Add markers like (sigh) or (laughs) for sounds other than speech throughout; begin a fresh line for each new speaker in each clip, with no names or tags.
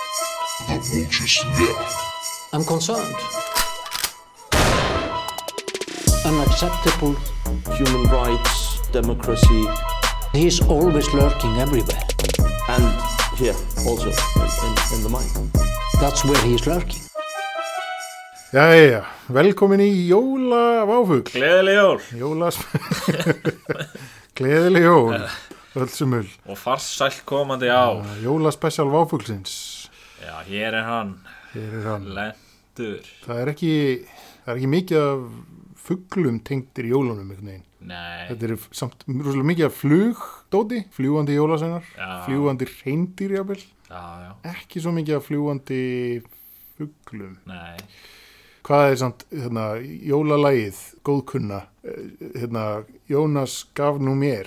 I won't just laugh.
I'm concerned. Unacceptable.
human rights, democracy,
He's always lurking everywhere.
and here also in, in, in the mind.
That's where he's lurking.
Jæja, velkomin í jólaváfugl,
Gleðileg jól
jólas, (laughs) gleðileg jól, öllsumul,
og farsælt komandi ár.
jólaspecial váfuglsins,
Já, hér er hann,
hér er hann.
lendur.
Það er ekki, það er ekki mikið af fuglum tengdir í jólunum einhvern veginn.
Nei,
Þetta er samt rúslega mikið af flugdóti, fljúandi jólaseinar,
Já.
fljúandi reyndir jáfnvel,
já, já,
ekki svo mikið af fljúandi fuglum.
nei.
Hvað er samt, hérna, jólalagið, góðkunna, eh, hérna, Jónas gaf nú mér,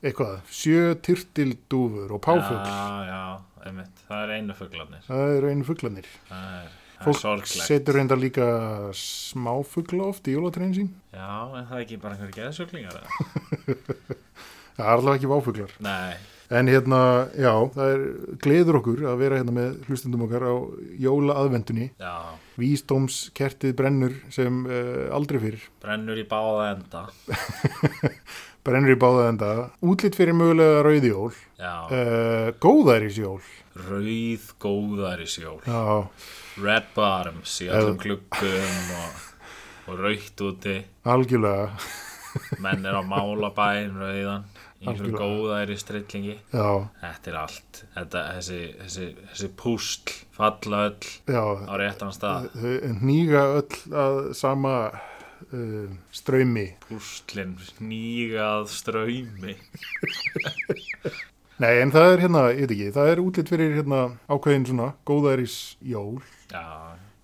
eitthvað, sjö tyrtildúfur og páfugl,
Já, já, einmitt, það er einu fugglarnir.
það eru einu fuglanir.
Það er, það er
Fólk
sorglegt.
setur reyndar líka smáfugla oft í jólatrein sín,
Já, en það er ekki bara einhverjir geðsuglingar eða?
það er allavega ekki váfuglar.
Nei,
En hérna, já, það er gleður okkur að vera hérna með hlustundum okkar á jólaaðvendunni,
já,
vísdómskertið brennur sem uh, aldrei fyrir.
brennur í báða enda.
Brennur í báða enda, útlitt fyrir mögulega rauðjól,
Já,
uh, góðærisjól.
rauð góðaris jól.
Já,
Red bottoms í
Eh.
allum klukkum og, og raukt úti.
algjörlega,
Menn er á málabæn rauðan, einhverjum
Algjörlega.
góðaris trillingi.
já,
Þetta er allt, þetta, þessi, þessi, þessi púsl falla öll á
já,
réttan stað,
nýga öll að sama uh, ströymi.
púslinn nýgað ströymi.
Nei, en það er hérna, ég veit ekki, það er útlitt fyrir hérna ákveðin svona góðærisjól.
Já,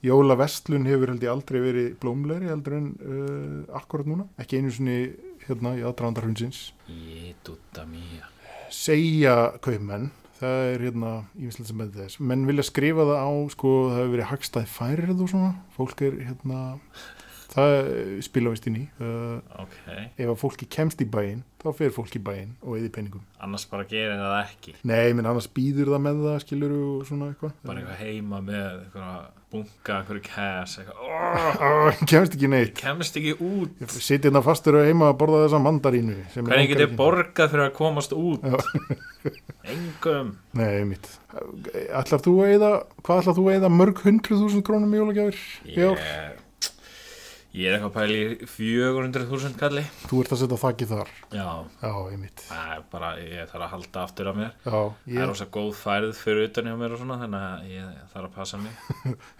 Jólaveslun hefur held ég aldrei verið blómlegri heldur en uh, akkurat núna. Ekki einu svona hérna í aðdraðandarhundsins.
ég dutta mía.
Segja kaupmenn, það er hérna, ég finnst sem með þess. Menn vilja skrifa það á, sko, það hefur verið hagstæði færið og svona. Fólk er hérna, það eh, spila vist inn í. Uh,
Ok,
ef að fólki kemst í bæinn, þá fer fólki í bæinn og eði peningum.
annars bara gerir það ekki.
Nei, menn annars býður það með það, skilur og svona eitthvað.
Bara eitthvað heima með eitthvað bunga, einhverju kæs, eitthvað, oh,
Ó, Ah, kemst ekki neitt.
kemst ekki út.
Ég Sitt hérna fastur og heima að borða þessa mandarínu. sem mig
Hvernig
langar
getur
ekki.
borgað fyrir að komast út? Engum.
Nei, mitt. Ætlar þú að eða, hvað ætlar þú að eða mörg hundruð þúsund krónum í jólagjafir? í ár?
Ég, ég er eitthvað að pæla í 400.000 kalli.
Þú ert að setja þakki þar.
Já,
Já, einmitt.
það er bara, ég þarf að halda aftur af mér.
Já,
Það er
ég,
rosa góð færið fyrir utan hjá mér og svona þannig að ég þarf að passa mig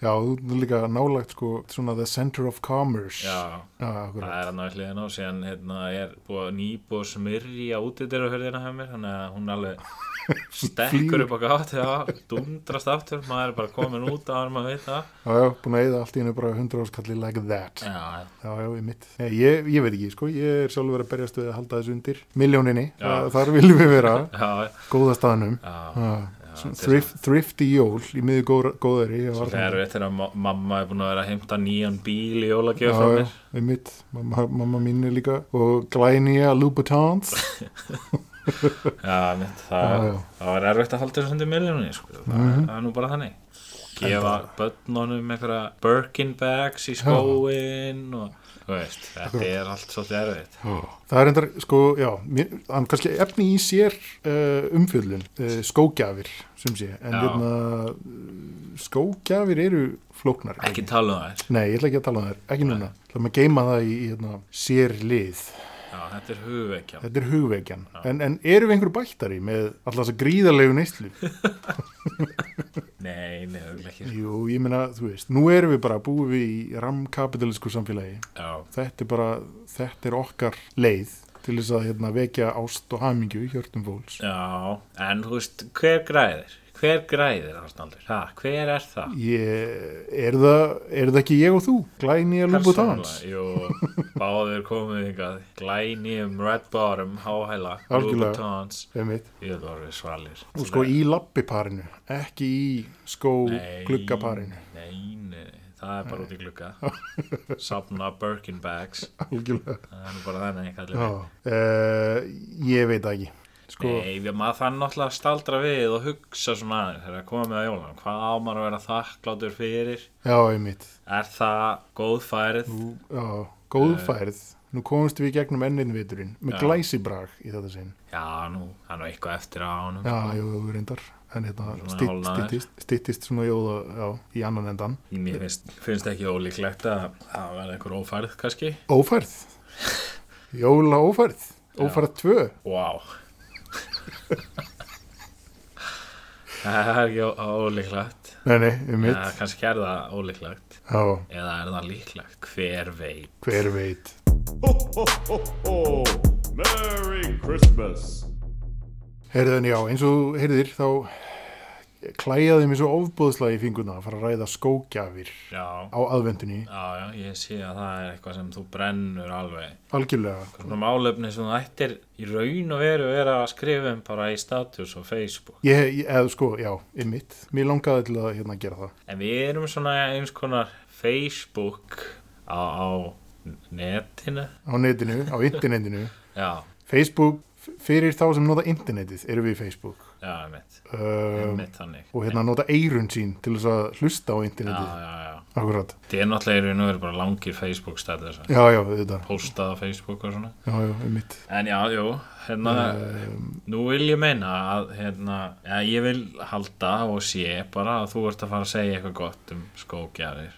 já, þú ert líka nálagt sko, svona the center of commerce.
Já,
Já,
það
akkurat.
er hann á hliðin á síðan hérna, er búið nýbúið að smyrja útidyra hörðina hjá mér þannig að
(laughs)
hún alveg stekkur upp á gátt já, dundrast aftur, maður er bara komin út að hann maður veit það
Já, já, búin að eða allt í hennu bara hundra áskalli like that.
Já,
Já, já, ég mitt. Nei, ég, ég veit ekki, sko, ég er sjálfur að berjast við að halda þessu undir miljóninni, Þa- þar viljum við vera,
já,
góða staðnum.
já
Ah, svona
þetta er
Þrif, Thrifty jól í miður góðra- góðæri. ég var
Það
þarna.
er veit þegar ma- mamma er búin að vera að heimta nýjan bíl í
Já,
jólagjöf frá
já,
mér
ég mitt, mamma, mamma mín er líka og glænýja Louboutins.
Já, mitt,
Já,
það,
já. Mhm.
það var erfitt að halda þessu hundi miljónu sko. það, það er nú bara þannig gefa börnunum einhverja Birkin bags í skóin og þú veist, þetta er allt svolítið erfitt
Það er endar, sko, já, mér, hann kannski efni í sér uh, umfjöldun, uh, skógjafir, sem sé, en
Já.
hérna, uh, skógjafir eru flóknar.
ekki tala um það
Nei, ég ætla ekki að tala um þær, ekki núna. Það maður geima það í, í hérna, sér lið.
já, þetta er hugvekja
Þetta er hugveikjan. En, en eru við einhverju bættari með alltaf þess að gríðarlegu neyslu?
(laughs) nei, nei, örugglega ekki sko.
Jú, ég meina, þú veist, nú erum við bara búið við í ramkapitalísku samfélagi.
já,
Þetta er bara, þetta er okkar leið til þess að hérna, vekja ást og hamingju í hjörtum fólks.
já, en þú veist hver græðir, hver græðir Arnaldur, ha, hver er það
Ég, er það, er það ekki ég og þú? Glæni að lúpa tans?
Persónulega, jú, báðir komið ykkar glænýjum um red bottom, háhæla
Algjörlega.
Louboutins,
Einmitt.
ég er bara svalir
Og sko í lappiparinu, ekki í skó gluggaparinu. (laughs)
Nei, nei, nei, það er bara út í glugga Safna Birkin bags
Algjörlega.
Það er nú bara þannig
Já,
kallir
uh, ég veit það ekki. sko,
Nei, við- maður þann náttúrulega að staldra við og hugsa svona aðeins þegar að koma með að jólanum. Hvað á maður að vera þakklátur fyrir?
já, einmitt
Er það góð færið?
Nú, já, góð færð nú komumst við í gegnum ennin viturinn með
Eh. Já.
glæsibrag í þetta sinn
Já, nú, það er nú eitthvað eftir á honum.
já, jú, jú, reyndar en
Svona
hérna stytt-
hálfnaður.
styttist, styttist svona jóða já, í annan endan
Mér finnst, finnst ekki ólíklegt að það verði einhver ófærið kannski.
ófærð
(laughs)
jóla ófærð ófærð 2
Vá. (laughs) það er ekki ó- ólíklegt.
nei, nei, um
Ja,
mitt
kannski er það ólíklegt.
já,
Eða er það líklegt? Hver veit?
hver veit
Oh, Merry Christmas.
Herðan já, eins og þú heyrðir þá klæjaði mér svo ofbúðslega í fingurna að fara að ræða skógjafir
Já.
á aðvendunni,
Já, já, ég sé að það er eitthvað sem þú brennur alveg.
algjörlega
Svona málefni sem þú ættir í raun og veru vera að skrifa um bara í status og Facebook.
ég, ég, eða sko, já, ymmit mér langaði til að hérna gera það
En við erum svona eins konar Facebook á, á netinu.
á netinu, á internetinu
Já,
Facebook, f- fyrir þá sem nota internetið erum við í Facebook
já, einmitt.
um,
Einmitt þannig.
og hérna nota eirun sín til þess að hlusta á
Já,
internetið,
já, já.
akkurat
Þið er náttúrulega í raun og veru bara langir Facebook status.
já, já, þetta,
Postað á Facebook og svona.
já, já, ymmit
En já, jú, hérna,
Ehm.
nú vil ég meina að, hérna, ja, ég vil halda og sé bara að þú ert að fara að segja eitthvað gott um
(laughs)
skókjarir.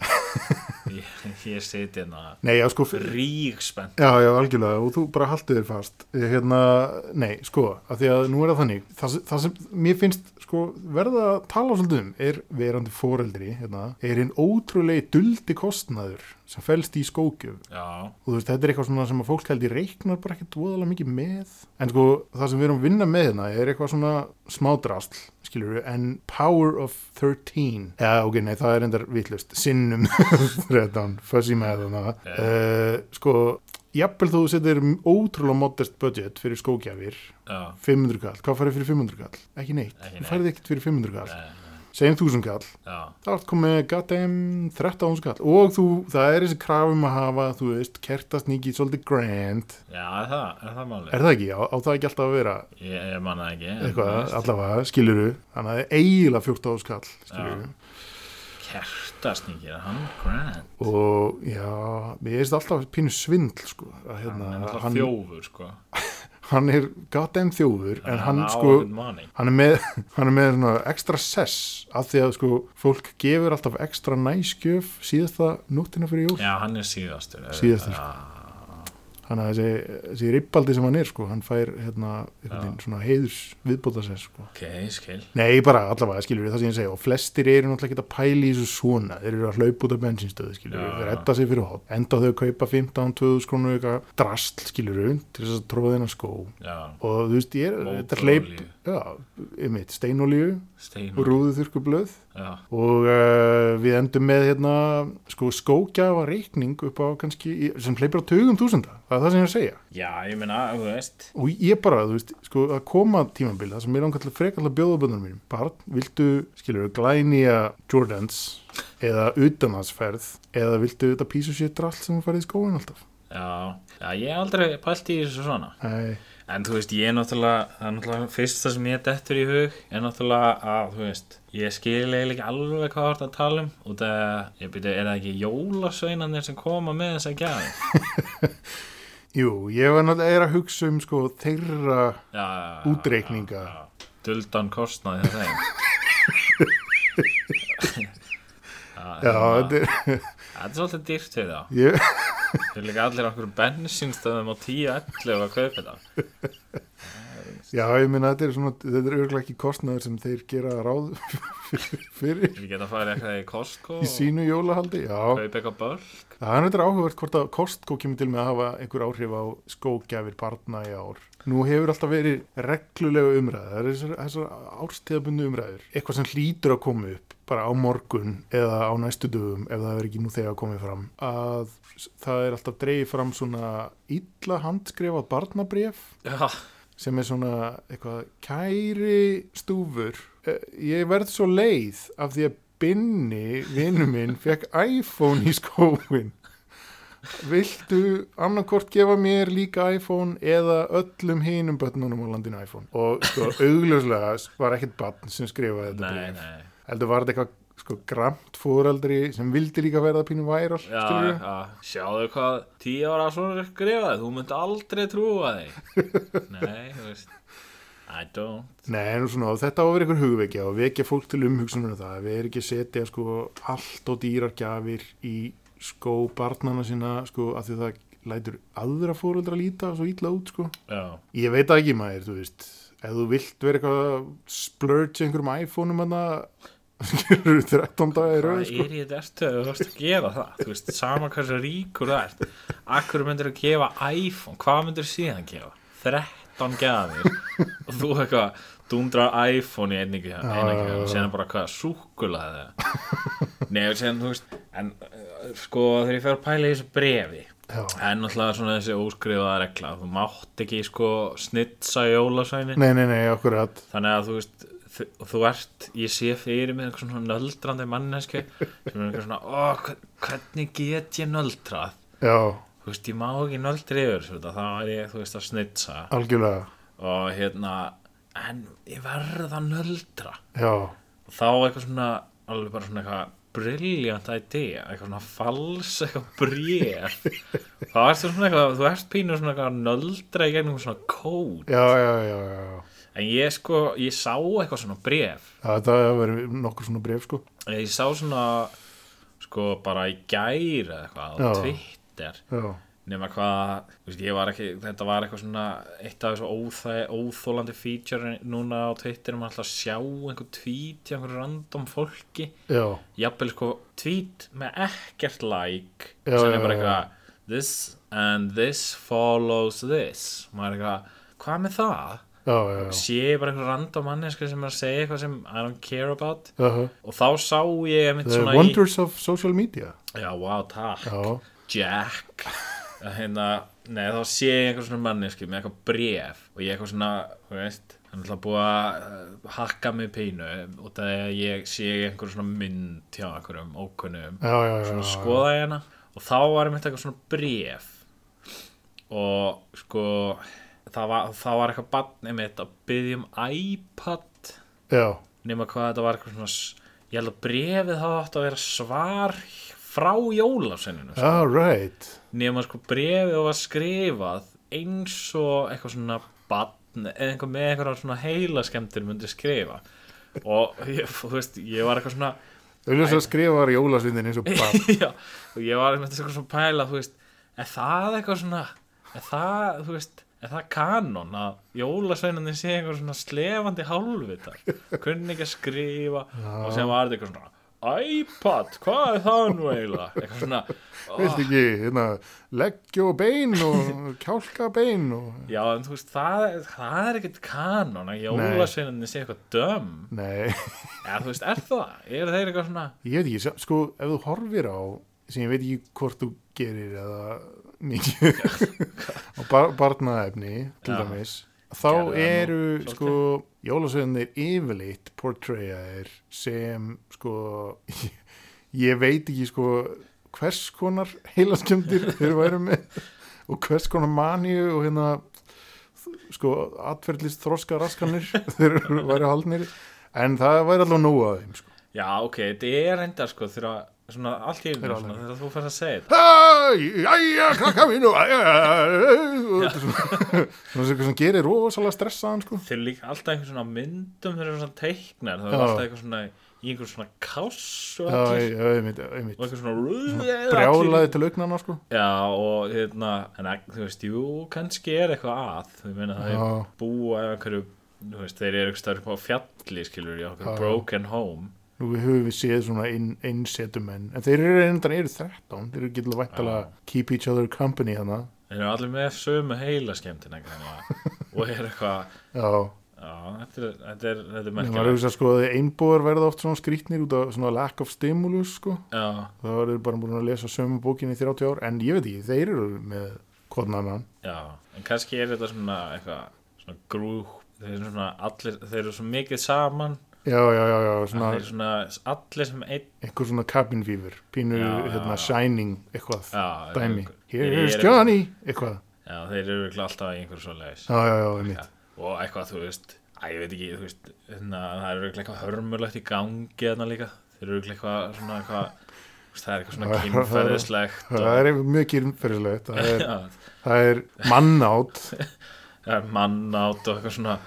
ég, ég siti hérna
nei, já, sko, f-
ríkspenn.
Já, já, algjörlega og þú bara haldið þér fast Eh, hérna, nei, sko, af því að nú er það þannig, það, sem- það sem mér finnst sko, verða að tala svolítið um er verandi foreldri, hérna, er hinn ótrúlegi duldi kostnaður sem felst í skókjöf
Já,
og þú veist, þetta er eitthvað svona sem að fólk held í reiknar bara ekkert voðalega mikið með en sko, það sem við erum að vinna með hérna er eitthvað svona smádrasl, skilur við en Power of 13 já, ok, nei, það er endar vitlust sinnum (laughs) 13, fuzzy með þannig uh, sko jafnvel þú setir ótrúlega modest budget fyrir skógjafir,
já,
500 kall hvað farið fyrir 500 kall? Ekki neitt,
Ekki
þú
neitt.
farið ekkert fyrir 500 kall
eh,
segjum 1000 kall
já,
Það vart komið goddamn 13 skall og þú, það er þessi krafum að hafa, þú veist, kertasníki svolítið grand.
já, er það, er það málið?
Er það ekki? Á, á það ekki alltaf að vera
Ég, ég manna ekki. en þú
eitthvað,
veist,
allavega, skiluru. Þannig að það er eiginlega 14 skall, skiluru.
Kertasningir, hann grand.
Og já, mér finnst alltaf pínu svindl, sko. Að,
Hann er
hérna,
alltaf
hann,
þjófur, sko.
hann er goddamn þjófur, en hann,
á
sko...
einhvern maning.
Hann er, með, (laughs) hann er með svona ekstra sess af því að sko fólk gefur alltaf ekstra næskjöf síðasta nóttina fyrir jól
Já, hann er síðastur. er-
Síðastur.
Já,
hann að þessi, þessi rippaldi sem hann er sko, hann fær hérna einhvern veginn svona heiðurs viðbóta sér sko.
ok, skil.
Nei, bara allavega, skilur við það sem ég segja og flestir eru náttúrulega ekki að pæla í þessu svona þeir eru að hlaupa út af bensinstöðu, skilur við
Já,
þeir
já.
retta sig fyrir hot, enda á þau að kaupa 15-20 skronu eitthvað drastl, skilur við til þess að tróða þennan skó
Já,
og þú veist, ég er, þetta hlaup
Mótorolíu. Mm.
já, einmitt, steinolíu
steinur.
og rúðu þurkublöð
Já,
og uh, við endum með hérna, sko, skókjafa reikning upp á kannski, sem hleypir á tugum þúsunda, það er það sem ég er að segja
Já, ég meina, þú veist
og ég bara, þú veist, sko, að koma tímambil það sem ég langar til að freka alltaf bjóða bönnum mínum barn, viltu, skilur, glænýja Jordans eða utanansferð eða viltu þetta písu sér drall sem þú farið í skóin alltaf
Já, já ég hef aldrei pælt í þessu svona
Æ,
En þú veist, ég er náttúrulega Það er náttúrulega fyrsta sem ég dettur í hug Er náttúrulega að, þú veist Ég skil eiginlega ekki alveg hvað þú ert að tala um Út að, ég byrja, er það ekki jólasveinanir sem koma með þessa gæði Já,
jú, ég var náttúrulega er að hugsa um, sko, þeirra
já, já, já,
útreikninga
já. Duldan kostnaði hjá þeim
(laughs) já,
Ah.
þetta er
Það er svolítið dýrt við þá
ég,
Þeir líka allir okkur bensinstöðum á 10-11 að kaupa þetta
já, ég minna, þetta er svona þetta er örgulega ekki kostnaður sem þeir gera ráð (laughs) fyrir, fyrir
Þeir geta að fara eitthvað í Costco
í sínu jólahaldi, já
og kaupa eitthvað börn
Það er þetta áhugavert hvort að Costco kemur til með að hafa einhver áhrif á skógjafir barna í ár. Nú hefur alltaf verið reglulega umræður, það er þessar, þessar árstíðabundu umræður. Eitthvað sem hlýtur að koma upp bara á morgun eða á næstu dögum ef það er ekki nú þegar komið fram. Að það er alltaf dreigið fram svona illa handskrifað barnabréf
Já,
sem er svona eitthvað kæri stúfur Eh, ég verð svo leið af því að Binni vinnu minn fekk iPhone í skóin viltu annarkort gefa mér líka iPhone eða öllum hinum börnunum á landinu iPhone og sko augljóslega var ekkert barn sem skrifaði þetta
Nei,
bréf.
nei
heldur var þetta eitthvað sko gramt fóreldri sem vildi líka verða pínu væral
Já,
skilurðu?
já, sjáðu hvað tíu ára svona skrifaði, þú myndi aldrei trúa þig
(laughs)
Nei, þú veist I don't
Nei, en svona, þetta á að vera ykkur hugvekja og vekja fólk til umhugsunum það að við erum ekki að setja sko, allt og dýrargjafir í skó barnana sína sko, af því að það lætur aðra fóreldra líta svo illa út sko.
Já,
Ég veit það ekki maður, þú veist ef þú vilt vera eitthvað að splurge einhverjum iPhone-um (laughs) hann skilur 13 dagar í
hvað
röð sko.
er ég þetta ef þú vorst að gefa það, þú veist, sama hversu ríkur það ert Akkur myndir að gefa iPhone, hvað myndir síðan gefa? 13 gafir og þú eitthvað dundrar iPhone í einningu hjá, einningu hjá, og séðan bara hvað, súkulaði Nei, og séðan, þú veist, en eh, sko þegar ég fer að pæla í þessu brefi
Já.
En náttúrulega svona þessi óskrifaða regla Þú mátt ekki sko snitsa jólasæni
sko. Nei, nei, nei, akkurat
Þannig að þú veist þ- Þú ert, ég sé fyrir mig einhver svona nöldrandi mannesku sem er einhver svona, ó, hve- hvernig get ég nöldrað?
Já,
Þú veist, ég má ekki nöldra yfir þessu, þetta, þá er ég, þú veist, að snitsa
algjörlega
og hérna, en ég verð að nöldra
Já,
og þá eitthvað svona, alveg bara svona eitthvað brilljant idea, eitthvað svona fals eitthvað bréf þá ertu svona eitthvað, þú ert pínur svona eitthvað að nöldra í gegnum svona kód
já, já, já, já, já.
en ég sko, ég sá eitthvað svona bréf
Já, Þetta hefur verið nokkur svona bref sko.
ég sá svona sko bara í gæri eitthvað á
Já.
Twitter
Já,
nema hvað, þú veist, ég var ekki þetta var eitthvað svona, eitt af þessu óþæ, óþólandi feature núna á Twitter, maður alltaf að sjá einhver tweet í einhverju random fólki
já,
jafnvel sko tweet með ekkert like
Já,
sem
já,
er
já.
bara eitthvað this and this follows this maður er eitthvað, hvað með það?
já, já, já.
sé ég bara eitthvað random manneska sem er að segja eitthvað sem I don't care about
Uh
og þá sá ég einmitt
The
svona
Wonders of Social Media
í já, wow, takk,
Já,
Jack Að hérna, nei, þá sé ég einhver svona manneski með eitthvað bref og ég eitthvað svona, þú veist hann er alltaf búið að uh, hakka mig pínu og það er að ég sé einhver svona mynd hjá einhverjum ókunnum
já, já, já,
svona sko-
já.
skoða ég hana og þá var einmitt eitthvað svona bréf og sko það var, það var eitthvað bann einmitt að byggja um iPad
já,
nema hvað þetta var eitthvað svona s- ég held að bréfið það átt að vera svar frá jólasenninu
já,
sko.
right
nema sko bréfið var skrifað eins og eitthvað svona bann eða einhver með eitthvað svona heilaskemmtir myndi skrifa og ég, þú veist, ég var eitthvað svona
Auðvitað skrifar jólasvindin
(laughs)
eins og barn
Já, og ég var með eitthvað svona pæla, þú veist, er það eitthvað svona, er það, þú veist, er það kanon að jólasveinandi sé eitthvað svona slefandi hálfvitar, kunni ekki að skrifa og sem var þetta eitthvað svona, iPad, hvað er það nú eiginlega, eitthvað svona,
Veist ekki, hérna, leggju og bein
(laughs)
og kjálka bein og...
já, en þú veist, það, er- það er ekkert kanon að jólasveinandi sé eitthvað döm,
Nei,
eða þú veist, er það, eru þeir eitthvað svona,
ég veit ekki, sa- sko, ef þú horfir á sem ég veit ekki hvort þú gerir eða
(laughs)
mikið og bar barnaefni til
Já.
dæmis þá
Gerðu það nú
eru
svolítið.
sko jólasveinir yfirleitt portrayaðir sem sko (laughs) ég veit ekki sko hvers konar
(laughs)
heilaskjöndir þeir væru með og hvers konar maníu og hérna sko atferðlist þroska raskanir (laughs) þeir væru haldnir en það væri allavega nóg að þeim sko
já, ok, þetta er enda, sko, þegar, svona, allt í einu, svona, þegar þú fannst að segja þetta.
Æ, æja, krakka mín og æja Svona svona sem sem gerir rosalega stressaðan sko
þeir eru líka alltaf einhver svona á myndum þeir eru svona teiknar
Já.
það er alltaf eitthvað svona í einhver svona káss og
Já,
allir
ég- ég veit, ég
og
veit
eitthvað svona
Brjálaði til augnana sko
já og hérna en að- þú veist, jú, kannski er eitthvað að þú meina það er
Já.
búa eða einhverju þú veist, þeir eru einhver starf upp á fjalli skilur í okkur
Já.
broken home
Nú við höfum við séð svona inn- innsetumenn En þeir eru einhvern eru 13 Þeir eru getur væntalega keep each other company hana
þeir eru allir með sömu heila skemmtina
(laughs)
og er eitthvað
Já,
já, þetta er, þetta er, þetta er
en maður
merkilegt
hefur sko að einbúar verða oft svona skrýtnir út af svona lack of stimulus sko
já,
Það var þeir bara búin að lesa sömu bókinni í 30 ár En ég veit ekki, þeir eru með kodnaðan
Já, en kannski er þetta svona eitthvað svona grúp, þeir eru svona allir, þeir eru svo mikið saman
já, já, já, já svona,
það er svona allir sem einn
einhver svona cabin fever pínu,
Já, já,
hérna,
já.
shining eitthvað,
Já,
dæmi
einhver-
here's
Ég er-
Johnny, eitthvað
já, þeir eru örugglega alltaf í einhverju svoleiðis
já, já, já, einmitt,
og eitthvað, þú veist að ég veit ekki, þú veist, hérna, það eru örugglega eitthvað hörmulegt í gangi þarna líka þeir eru örugglega eitthvað svona eitthvað þú veist, það er
(laughs)
eitthvað svona
Já,
kynferðislegt og-
það er mjög kynferðislegt það er,
(laughs) Já,
það er mannátt
það er mannátt og eitthvað svona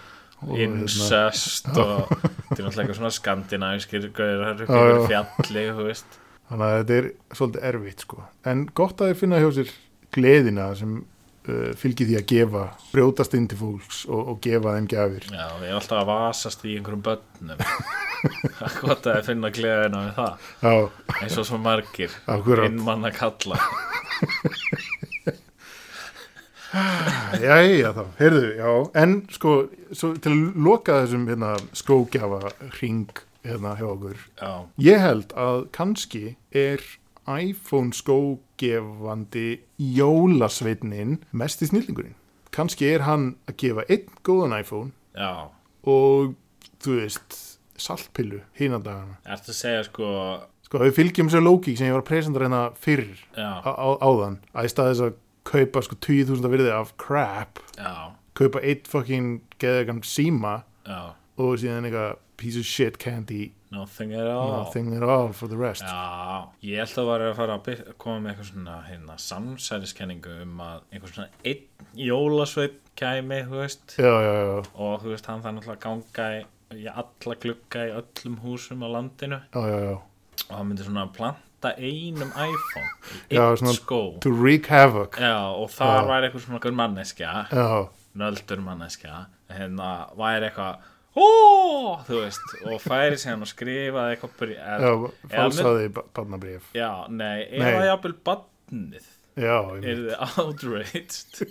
Og hérna-
incest og þetta er náttúrulega eitthvað svona skandinavískir gauðir það eru
Já,
upp yfir
já.
fjalli, þú veist
þannig að þetta er svolítið erfitt sko. en gott að þeir finna hjá sér gleðina sem uh, fylgir því að gefa brjótast inn til fólks og, og gefa þeim gjafir
Já, við erum alltaf að vasast í einhverjum
(laughs)
börnum Það er gott að finna gleðina við það
já,
eins og svo margir
Akkurat.
innmann að kalla
já, já þá, heyrðu, já en sko, svo, til að loka þessum hérna, skógjafa ring hérna hjá okkur
Já,
ég held að kannski er iPhone skógefandi jólasveitnin mest í snillingurinn kannski er hann að gefa einn góðan iPhone
já
og þú veist saltpillu hinandagana
Ertu að segja sko
sko við fylgjum sér lókík sem ég var að presenda reyna fyrir á,
Já,
á, áðan að í stað þess að kaupa sko 20.000 virði af crap
já,
kaupa eitt fucking geðegan síma
já
og síðan eitthvað piece of shit candy
Nothing at all
nothing at all for the rest
Já, ég held að var að fara að byr- koma með eitthvað svona hérna, samsæriskenningu um að einhver svona einn jólasveit kæmi, þú veist
já, já, já,
og þú veist, hann þarf náttúrulega að ganga í, í alla glugga í öllum húsum á landinu
já, já, já.
og hann myndi svona planta einum iPhone í
Já,
einn
svona
skó
to wreak havoc
Já, og þar væri eitthvað svona einhver manneskja
já,
nöldur manneskja hérna væri eitthvað Ó, þú veist, og færi sér hann og skrifaði eitthvað brí-
já
eða- eða mynd-
falsaði barnabrif
Já, nei, ef
Nei.
að jafnvel badnið
já, einmitt.
yrði (laughs) outraged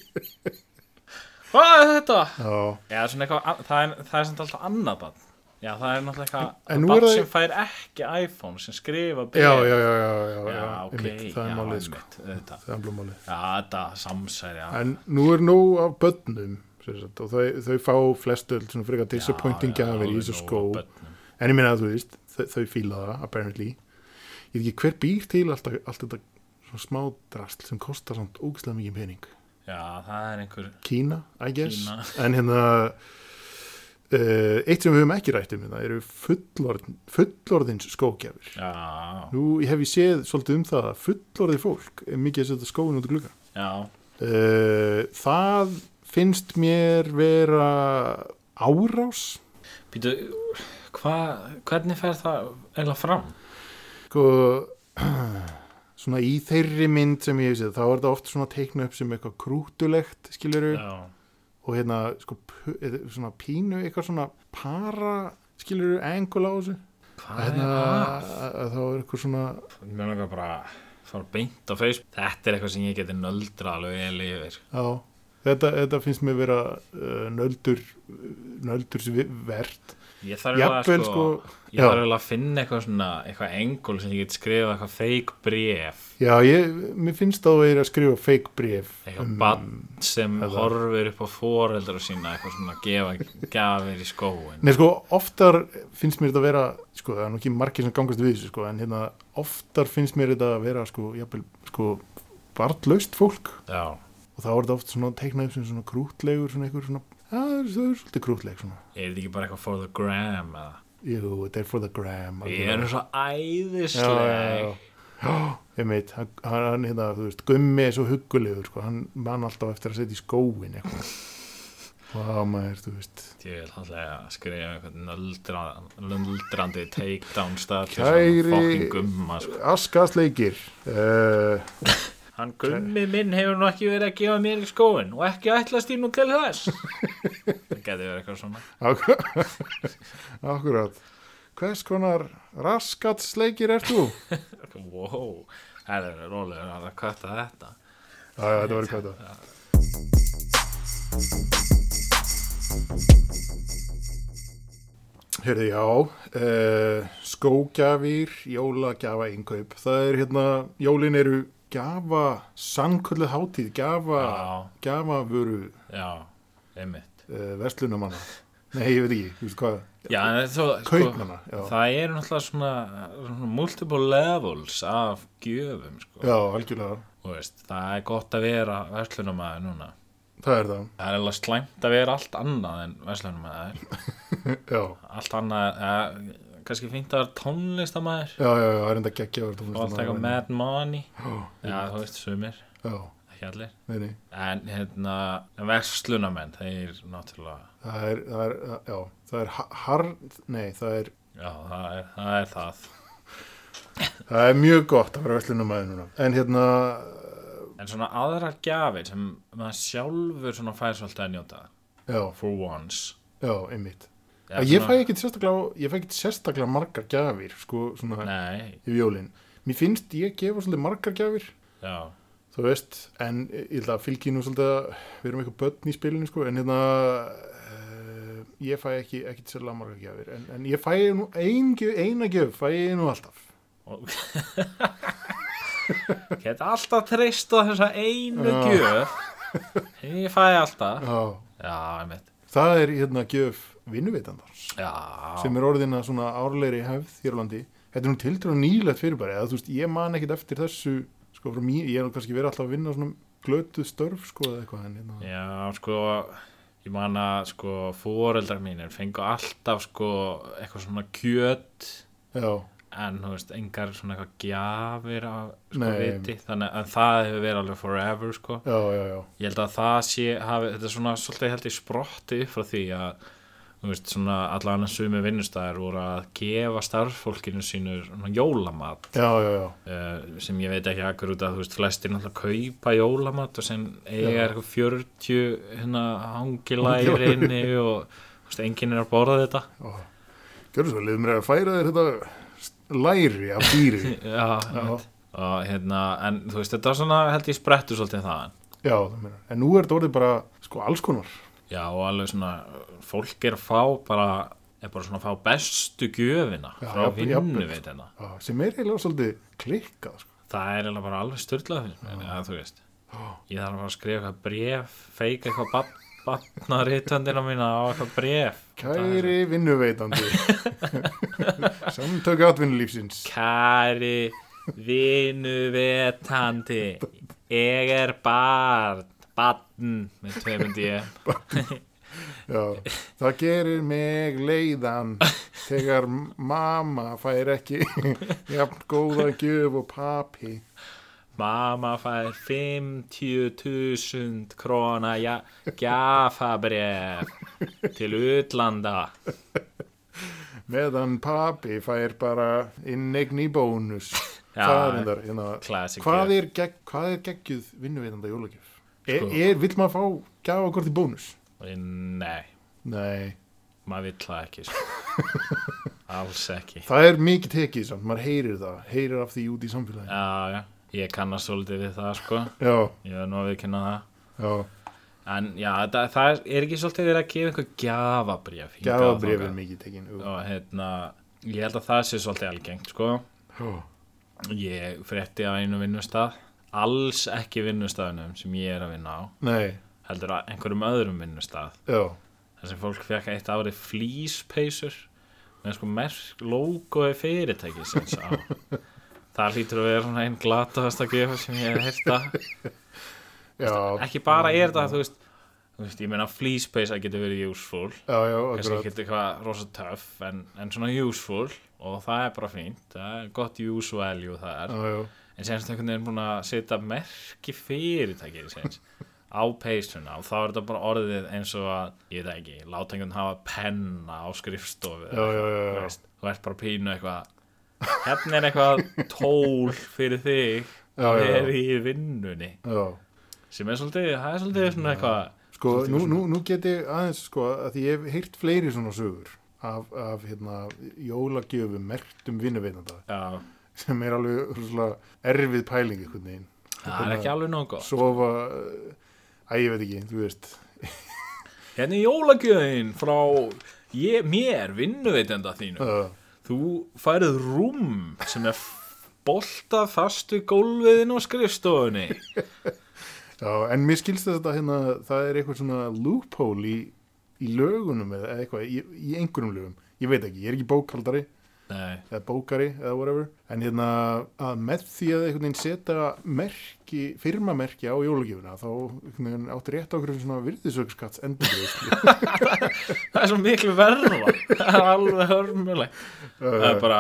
Hvað er þetta?
já,
Já, svona eitthvað, an- það er, það er samt alltaf annað badn Já, það er náttúrulega eitthvað
En- en nú er
badn
það-
sem fær ekki iPhone sem skrifa bréf.
já, já, já, já, já,
Já, ok,
einmitt, það
já,
er málið sko
einmitt, auðvitað.
það er blóð málið
Já, þetta samsæri já.
En nú er nóg af börnum sem sagt, og þau, þau fá flestöld svona frekar disappointing
Já, já,
gafir í
alveg
þessu
nóg
skó
af börnum.
en ég minna að þú veist, þau, þau fíla það apparently, ég veit ekki hver býr til alltaf, allt þetta svona smá drast sem kostar samt ógæslega mikið pening
Já, það er einhver
Kína, I guess
Kína.
en hérna uh, eitt sem við höfum ekki rætt um þetta eru fullorðin, fullorðins skógjafir
Já,
nú ég hef ég séð svolítið um það að fullorðið fólk er mikið að setja skóin út í glugga
já,
Uh, það finnst mér vera árás
býtu hva, Hvernig fer það eiginlega fram?
sko, (clears throat) svona í þeirri mynd sem ég hef séð, þá er það oft svona teikna upp sem eitthvað krútulegt skiluru,
Já,
og hérna sko, pu- eða svona pínu, eitthvað svona para, skiluru, engul á þessu
hvað
hérna,
er það?
að- að þá er eitthvað svona
Ég meina eitthvað bara fara beint á Facebook Þetta er eitthvað sem ég geti nöldra alveg sko. eða yfir
já, þetta, þetta finnst mér vera uh, nöldur nöldur verð
Ég þarf
Jafnvel,
eiginlega sko,
sko,
Ég
já.
þarf eiginlega að finna eitthvað svona eitthvað engul sem ég get skrifað eitthvað fake bréf
já, ég, mér finnst þá að vera að skrifa fake bréf
eitthvað um, bann sem horfir upp á foreldra sína eitthvað svona að gefa gafir í skóin
Nei, sko, oftar finnst mér þetta að vera, sko, það er nú ekki margir sem gangast við þessu, sko, en hérna, oftar finnst mér þetta að vera, sko, jafnvel, sko, barnlaust fólk
Já,
og þá er þetta oft svona teiknað upp sem svona krútlegur, svona einhver svona, já, það er, það er svolítið krútleg, svona.
er þetta ekki bara eitthvað for the gram eða?
Jú, þetta er for the gram.
Við erum svo
Já, já,
æðisleg
já. Já, (gasps) ég meit, hann, hann, hérna, þú veist, gummi er svo huggulegur, sko, hann man alltaf eftir að setja í skóin, eitthvað. Vá, maður, þú veist.
Ég vil alltaf að skrifa eitthvað nöldra- nöldrandi takedown stað
Kæri-
fucking gumma sko.
Askasleikir, uh,
Hann gummi minn hefur nú ekki verið að gefa mér í skóin og ekki ætlast í nú til þess
(laughs)
Það geti verið eitthvað svona
Akkur- (laughs) Akkurat Hvers konar raskatsleikir ert þú?
Wow, það er rólegur að kvæta þetta
Já, já, þetta var hvað það Hérði, já uh, Skógjafir, jólagjafa innkaup Það er hérna, jólin eru gjafa, sannkölluð hátíð gjafa,
Já.
gjafavöru
Já, einmitt
uh, verslunumanna Nei, ég veit ekki, þú veist hvað
Já, en sko, þó,
Kaupmanna, já.
það eru náttúrulega svona, svona multiple levels af gjöfum, sko.
Já, algjörlega,
Þú veist, það er gott að vera verslunumæður núna.
það er það
Það er alveg slæmt að vera allt annað en verslunumæður.
Já,
Allt annað, eh, kannski fínt að vera tónlistamæður
já, já, já, það er enda geggja að vera
og allt
tónlistarmaður.
eitthvað mad money.
Já,
Já, þú veist, sumir,
já,
ekki allir.
nei, nei
En hérna, verslunamenn, þeir náttúrulega,
Það er, það er, já, það er ha- hard, nei, það er
já, það er það. Er það.
Það er mjög gott að vera verslunumæður núna. En hérna,
En svona aðrar gjafir sem maður sjálfur svona fær svolítið að njóta.
já,
For once.
já, einmitt.
Já,
ég fæ
svona-
ekkit sérstaklega, ég fæ ekkit sérstaklega margar gjafir, sko, svona
Nei,
í jólinn. Mér finnst ég gefa svolítið margar gjafir,
já,
þú veist, en ég held að fylgi nú svolítið að við erum eitthvað börn í spilinu, sko, en hérna, uh, ég fæ ekki, ekkit sérlega margar gjafir. En, en ég fæ nú ein, gjöf- eina gjöf, fæ ég nú alltaf.
og... Geta alltaf treyst á þessa einu
Já. (laughs)
gjöf Ég fæ alltaf
Já,
Já, einmitt
það er hérna gjöf vinnuvitandars.
Já,
sem er orðina svona árleiri hefð hér á landi þetta er nú tildra nýlegt fyrirbæri eða þú veist, ég man ekkit eftir þessu sko, frá mér, ég er nú kannski verið alltaf að vinna svona glötuð störf, sko, eða eitthvað en, hérna,
já sko Ég man að sko fóreldrar mínir fengu alltaf sko eitthvað svona kjöt
já,
en þú veist, engar svona eitthvað gjafir af sko
Nei.
viti þannig að það hefur verið alveg forever sko
já, já, já
ég held að það sé hafi, þetta er svona svolítið held ég sprotti upp frá því að þú veist, svona allan að sumi vinnustæðar voru að gefa starffólkinu sínu svona jólamat
já, já, já,
uh, sem ég veit ekki akkur út að þú veist, flestir náttúrulega kaupa jólamat og sem eiga eitthvað 40 hérna hangilæri inni og þú veist, enginn er að borða þetta
gjörðu svo, liðum mér að færa þér þetta st- læri af dýri já,
(laughs) já, einmitt. og hérna en þú veist, þetta er svona held ég sprettu svolítið þaðan
það meina, en nú er þetta orðið bara sko, alls konar,
Já og alveg svona fólk er að fá bara er bara svona að fá bestu gjöfina
Já,
frá
jafnvel-
vinnu
jafnvel.
við þetta
já, sem er eiginlega svolítið klikkað, sko,
það er eiginlega bara alveg styrlað fyrir mér eða þú veist ég þarf að fara að skrifa eitthvað bref feika eitthvað batnarítandina mína á eitthvað bref
kæri vinnuveitandi samtöku atvinnulífsins
kæri vinnuvetandi ég er barn barn með tveimundi ég
Já, það gerir mig leiðan þegar mamma fær ekki (laughs) jafn góða gjöf og papi.
mamma fær 50.000 króna ja- gjafabref til utlanda
Meðan papi fær bara innegn í bónus.
Já.
það er endar, hérna,
Classic
hvað
gjöf. Sko.
er, gegg, hvað er geggjuð vinnuveitanda jólagjöf? Er, er, vill maður fá gjafa hvort í bónus?
nei,
Nei,
maður vill það ekki sko. alls ekki
það er mikið tekið samt, maður heyrir það, heyrir af því út í samfélagi.
já, já, ég kannast svolítið við það sko.
Já,
ég verð nú að viðkynna það
já,
en já, það, það er- er ekki svolítið verið að gefa einhver gjafabref
gjafabrif er mikið tekin. Já,
og hérna, ég held að það sé svolítið algengt sko.
já,
ég frétti á einu vinnustaf alls ekki vinnustafunum sem ég er að vinna á
nei,
heldur að einhverjum öðrum vinnustaf
já,
þar sem fólk fekk eitt ári flýspeysur með sko merk logoði fyrirtækisins á það hlýtur að vera svona einn glataðasta gefa sem ég hef hérta
já,
ekki bara er það þú veist, þú veist ég meina flýspeysa getur verið useful
já, já,
kannski
akkurat.
ekki eitthvað rosa töff en, en svona useful og það er bara fínt það er gott use value það er
Já, já.
en semst einhvern veginn búin að setja merki fyrirtækið sinns á peysuna og þá er þetta bara orðið eins og að, ég veit ekki, láta einhvern hafa penna á skrifstofu
Já, já, já, já.
Þú veist, þú ert bara pínu eitthvað hérna er eitthvað tól fyrir þig
Já, já, já.
er í vinnunni
Já,
sem er svolítið, það er svolítið svona eitthvað
sko, nú, nú, nú get ég aðeins, sko, að því ég hef heyrt fleiri svona sögur af, af hérna, jólagjöfum, mertum vinnuveitanda
já,
sem er alveg svona erfið pæling einhvern veginn.
það er ekki alveg nógu gott
Sofa, æ, ég veit ekki, þú veist.
hérna er jólagjöðin frá ég, mér, vinnuveitenda þínu
Uh,
Þú færið rúm sem er bolta fastu gólfiðin og skrifstofunni.
já, en mér skilst þess að hérna, það er eitthvað svona loophole í, í lögunum eða eitthvað, í, í einhverjum lögum. ég veit ekki, ég er ekki bókaldari
Nei,
eða bókari eða whatever en hérna að með því að einhvern veginn setja merki, firmamerki á jólugjöfuna þá einhvern veginn átti rétt á okkur svona virðisökskatts endurgreðslu
það er svo miklu verða það er alveg hörmulegt það er bara,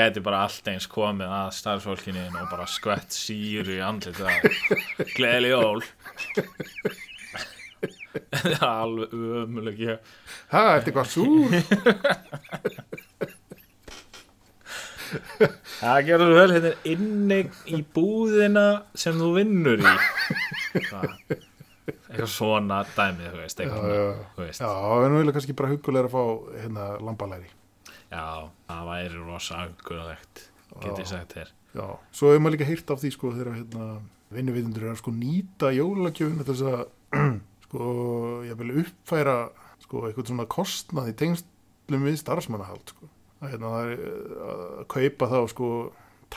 gæti bara allt eins komið að starfsfólkinu þínu og bara skvett síru í andlit það gleðli jól (laughs) það er alveg ömuleg ég
ha, ertu eitthvað súr?
Það gerur vel, þetta er inni í búðina sem þú vinnur
(laughs)
í Það- Eitthvað svona dæmið, þú veist, eitthvað,
já,
svona,
já.
þú veist.
Já, en nú vilja kannski bara hugulega að fá hérna lambalæri
Já, það væri rosa angurlegt, get ég sagt þér
Já, svo hefur maður líka heyrt af því sko þegar hérna vinnuvitundur er að sko nýta jólugjöfuna til þess að (clears throat) sko, ég vil uppfæra sko eitthvað svona kostnað í tengslum við starfsmannahald sko að hérna það er eh, að kaupa þá sko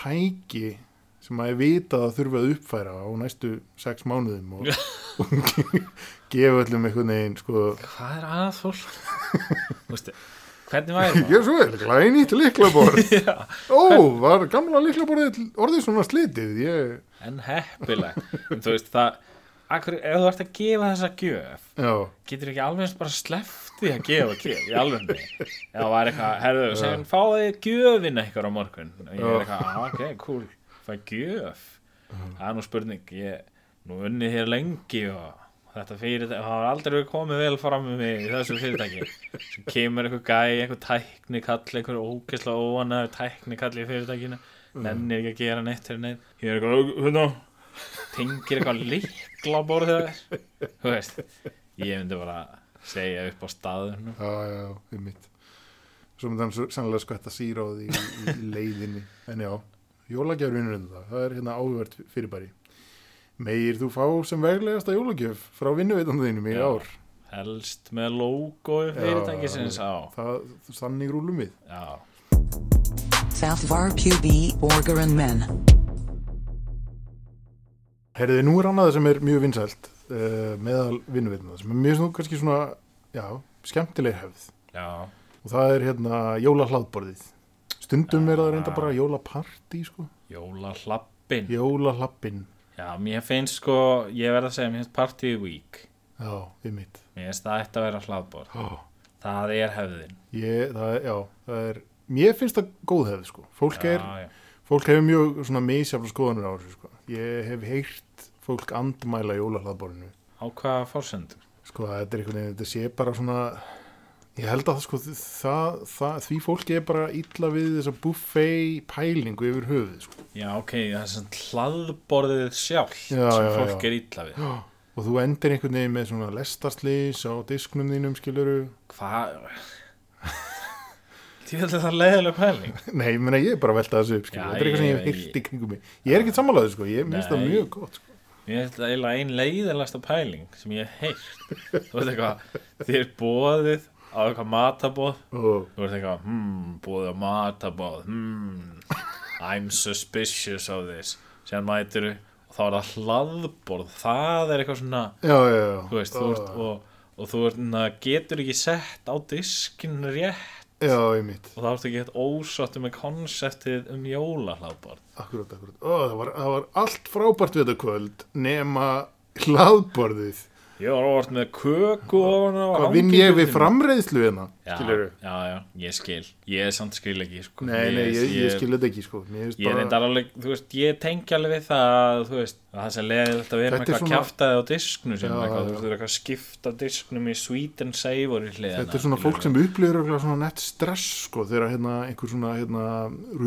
tæki sem að ég vita að þurfa að uppfæra á næstu sex mánuðum og, (laughs) og gefa öllum einhvern veginn sko
Hvað er að fólk?
(laughs)
Þú veist, hvernig væri
ég
það?
er svo vel, glænýtt liklaborð ó, var gamla liklaborðið orðið svona slitið ég,
En heppileg En Þú veist, það, akkur, ef þú ert að gefa þessa gjöf
já,
Getur ekki alveg eins bara sleftið að gefa gjöf í alveg með Eða var eitthvað, herðu, sem fáið gjöfin eitthvað á morgun Og ég er
Já.
eitthvað, "Ah, ok, cool, fæ gjöf Það er nú spurning, ég, nú unnið hér lengi og þetta fyrir það var aldrei komið vel fram með mig í þessu fyrirtæki Svo kemur einhver gæi, einhver tæknikall, einhver ógeðslega óanæður tæknikall í fyrirtækinu Nennir ekki að gera neitt fyrir neitt Mm. Ég er eitthvað, hérna, tengir eitthvað líkla borðið þér Þú veist Ég myndi bara segja upp á staðinu
já, já, um mitt svo myndi hann svo- sennilega skvætta síróð í, í, í leiðinni, en já jólagjörfinur en það, það er hérna áhvert fyrirbæri Megir þú fá sem veglegasta jólagjöf frá vinnuveitandiðinum í
Já.
ár?
helst með logo fyrirtækisins á
Það, þannig rúlum við.
Já,
Salvar QB Borger and Men.
Herðið, nú er annað sem er mjög vinsælt uh, meðal vinnuveitna sem er mjög svona, kannski svona, já, skemmtileg hefð
já,
og það er hérna jólahlaðborðið. Stundum er það reynda bara jólapartí, sko.
jóla hlappin
Jólahlappin,
Já, mér finnst sko, ég verð að segja mér finnst party week
já, við mitt.
Mér finnst það ætti að vera hlaðbor
Oh.
Það er hefðin
Ég, það er, já, það er, mér finnst það góð hefð, sko. Fólk
Já,
er,
já.
fólk hefur mjög svona misjafla skoðanur á þessu, sko. Ég hef heyrt fólk andmæla jólahlaðborðinu.
Á hvaða fórsendur?
Sko, þetta er einhvern veginn, þetta sé bara svona ég held að sko, það, það, því fólki er bara illa við þessa buffet pælingu yfir höfuð sko.
Já, ok, það er sem hlaðborðið sjálf
Já,
sem
já,
fólk
já.
er illa við
og þú endir einhvern veginn með svona lestarslís á disknum þínum skiluru
Hvað? Því þetta er það leiðileg pæling
(laughs) nei, ég meina, ég er bara að velta þessu upp skiluru
Já,
þetta er eitthvað sem ég
ég-
hef hýrt í kringum mig ég er ekki samanlega sko, ég minnst það
Nei.
mjög gott sko.
Mér finnst þetta eiginlega ein leiðilegasta pæling sem ég hef heyrt. Þú veist eitthvað, þér bóðið á eitthvað matabóð.
og
Þú veist eitthvað, hmm, bóðið á matabóð, hmm, I'm suspicious of this. Sér mætiru og þá er það hlaðborð. Það er eitthvað svona,
Já, já, já.
þú veist, þú
Ah.
ert, og, og þú ert, na, getur ekki sett á diskin rétt
já, ég mitt,
og þá ertu ekki hægt ósáttu með konseptið um jólahlaðborð.
akkurat, akkurat Ó, það, var, það var allt frábært við þetta kvöld nema hlaðborðið
Ég var orðið með köku og
hvað vinn ég við framreiðslu hérna
Já,
skiluru
já, já, ég skil Ég samt skil ekki sko.
Nei, nei, ég, ég skil þetta ekki sko Mér finnst
Ég
bara-
reyndar alveg, þú veist, ég tengi alveg við það að, þú veist, að það sem leiðilegt að vera
Þetta er
með eitthvað
svona-
kjaftaði á disknu
Já,
sem
já.
eitthvað, þú veist, þú er eitthvað að skipta disknum í sweet and savour í hliðina
Þetta er svona fólk sem upplýður eitthvað svona nett stress sko þegar hérna einhver svona hérna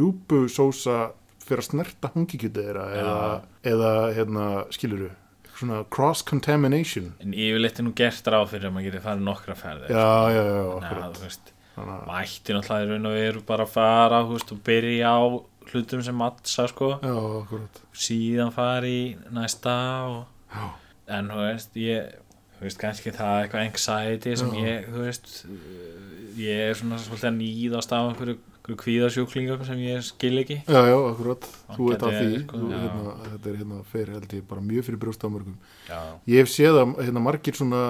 rjúpusósa fyrir að snerta hangikjötu þeirra eða, eða hérna skiluru svona cross-contamination
En yfirleitt er nú gert ráð fyrir að maður getur farið nokkra ferðir
Já, já, já, já,
Já,
akkurat
þú veist,
Þannig að-
mætti náttúrulega í raun og veru bara að fara, þú veist, og byrja á hlutum sem mattsa, sko
Já, akkurat
síðan fara í næsta og...
Já.
en þú veist ég þú veist kannski það er eitthvað anxiety sem ég þú veist uh, ég er svona svolítið að nýðast af einhverju, einhverju kvíðasjúklingar sem ég skil ekki
Já, já, akkurat, þú
Það
ert að
gæti
því
verið, sko,
þú,
já.
hérna, þetta er hérna fyrir held ég bara mjög fyrir brjóst á mörgum
já,
Ég hef séð að hérna, margir svona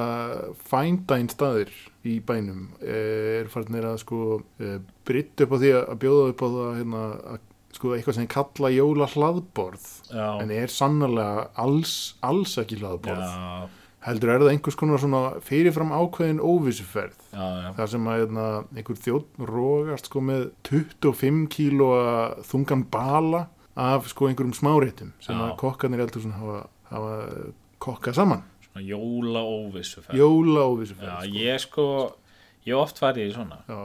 fændæn staðir í bænum eh, er farinir að sko eh, brytt upp á því að að bjóða upp á það hérna, að, sko eitthvað sem kalla jóla hlaðborð
já,
en er sannarlega alls, alls ekki hlaðborð
já,
heldur er það einhvers konar svona fyrirfram ákveðin óvissuferð
já, já.
þar sem að hérna, einhver þjótt rógast sko með 25 kílóa þungan bala af sko einhverjum smáréttum sem
Já.
að kokkarnir eldur svona hafa, hafa kokkað saman
svona jóla óvissu
jóla og vissu
já,
ferð sko.
ég sko ég hef oft farið í svona
Já.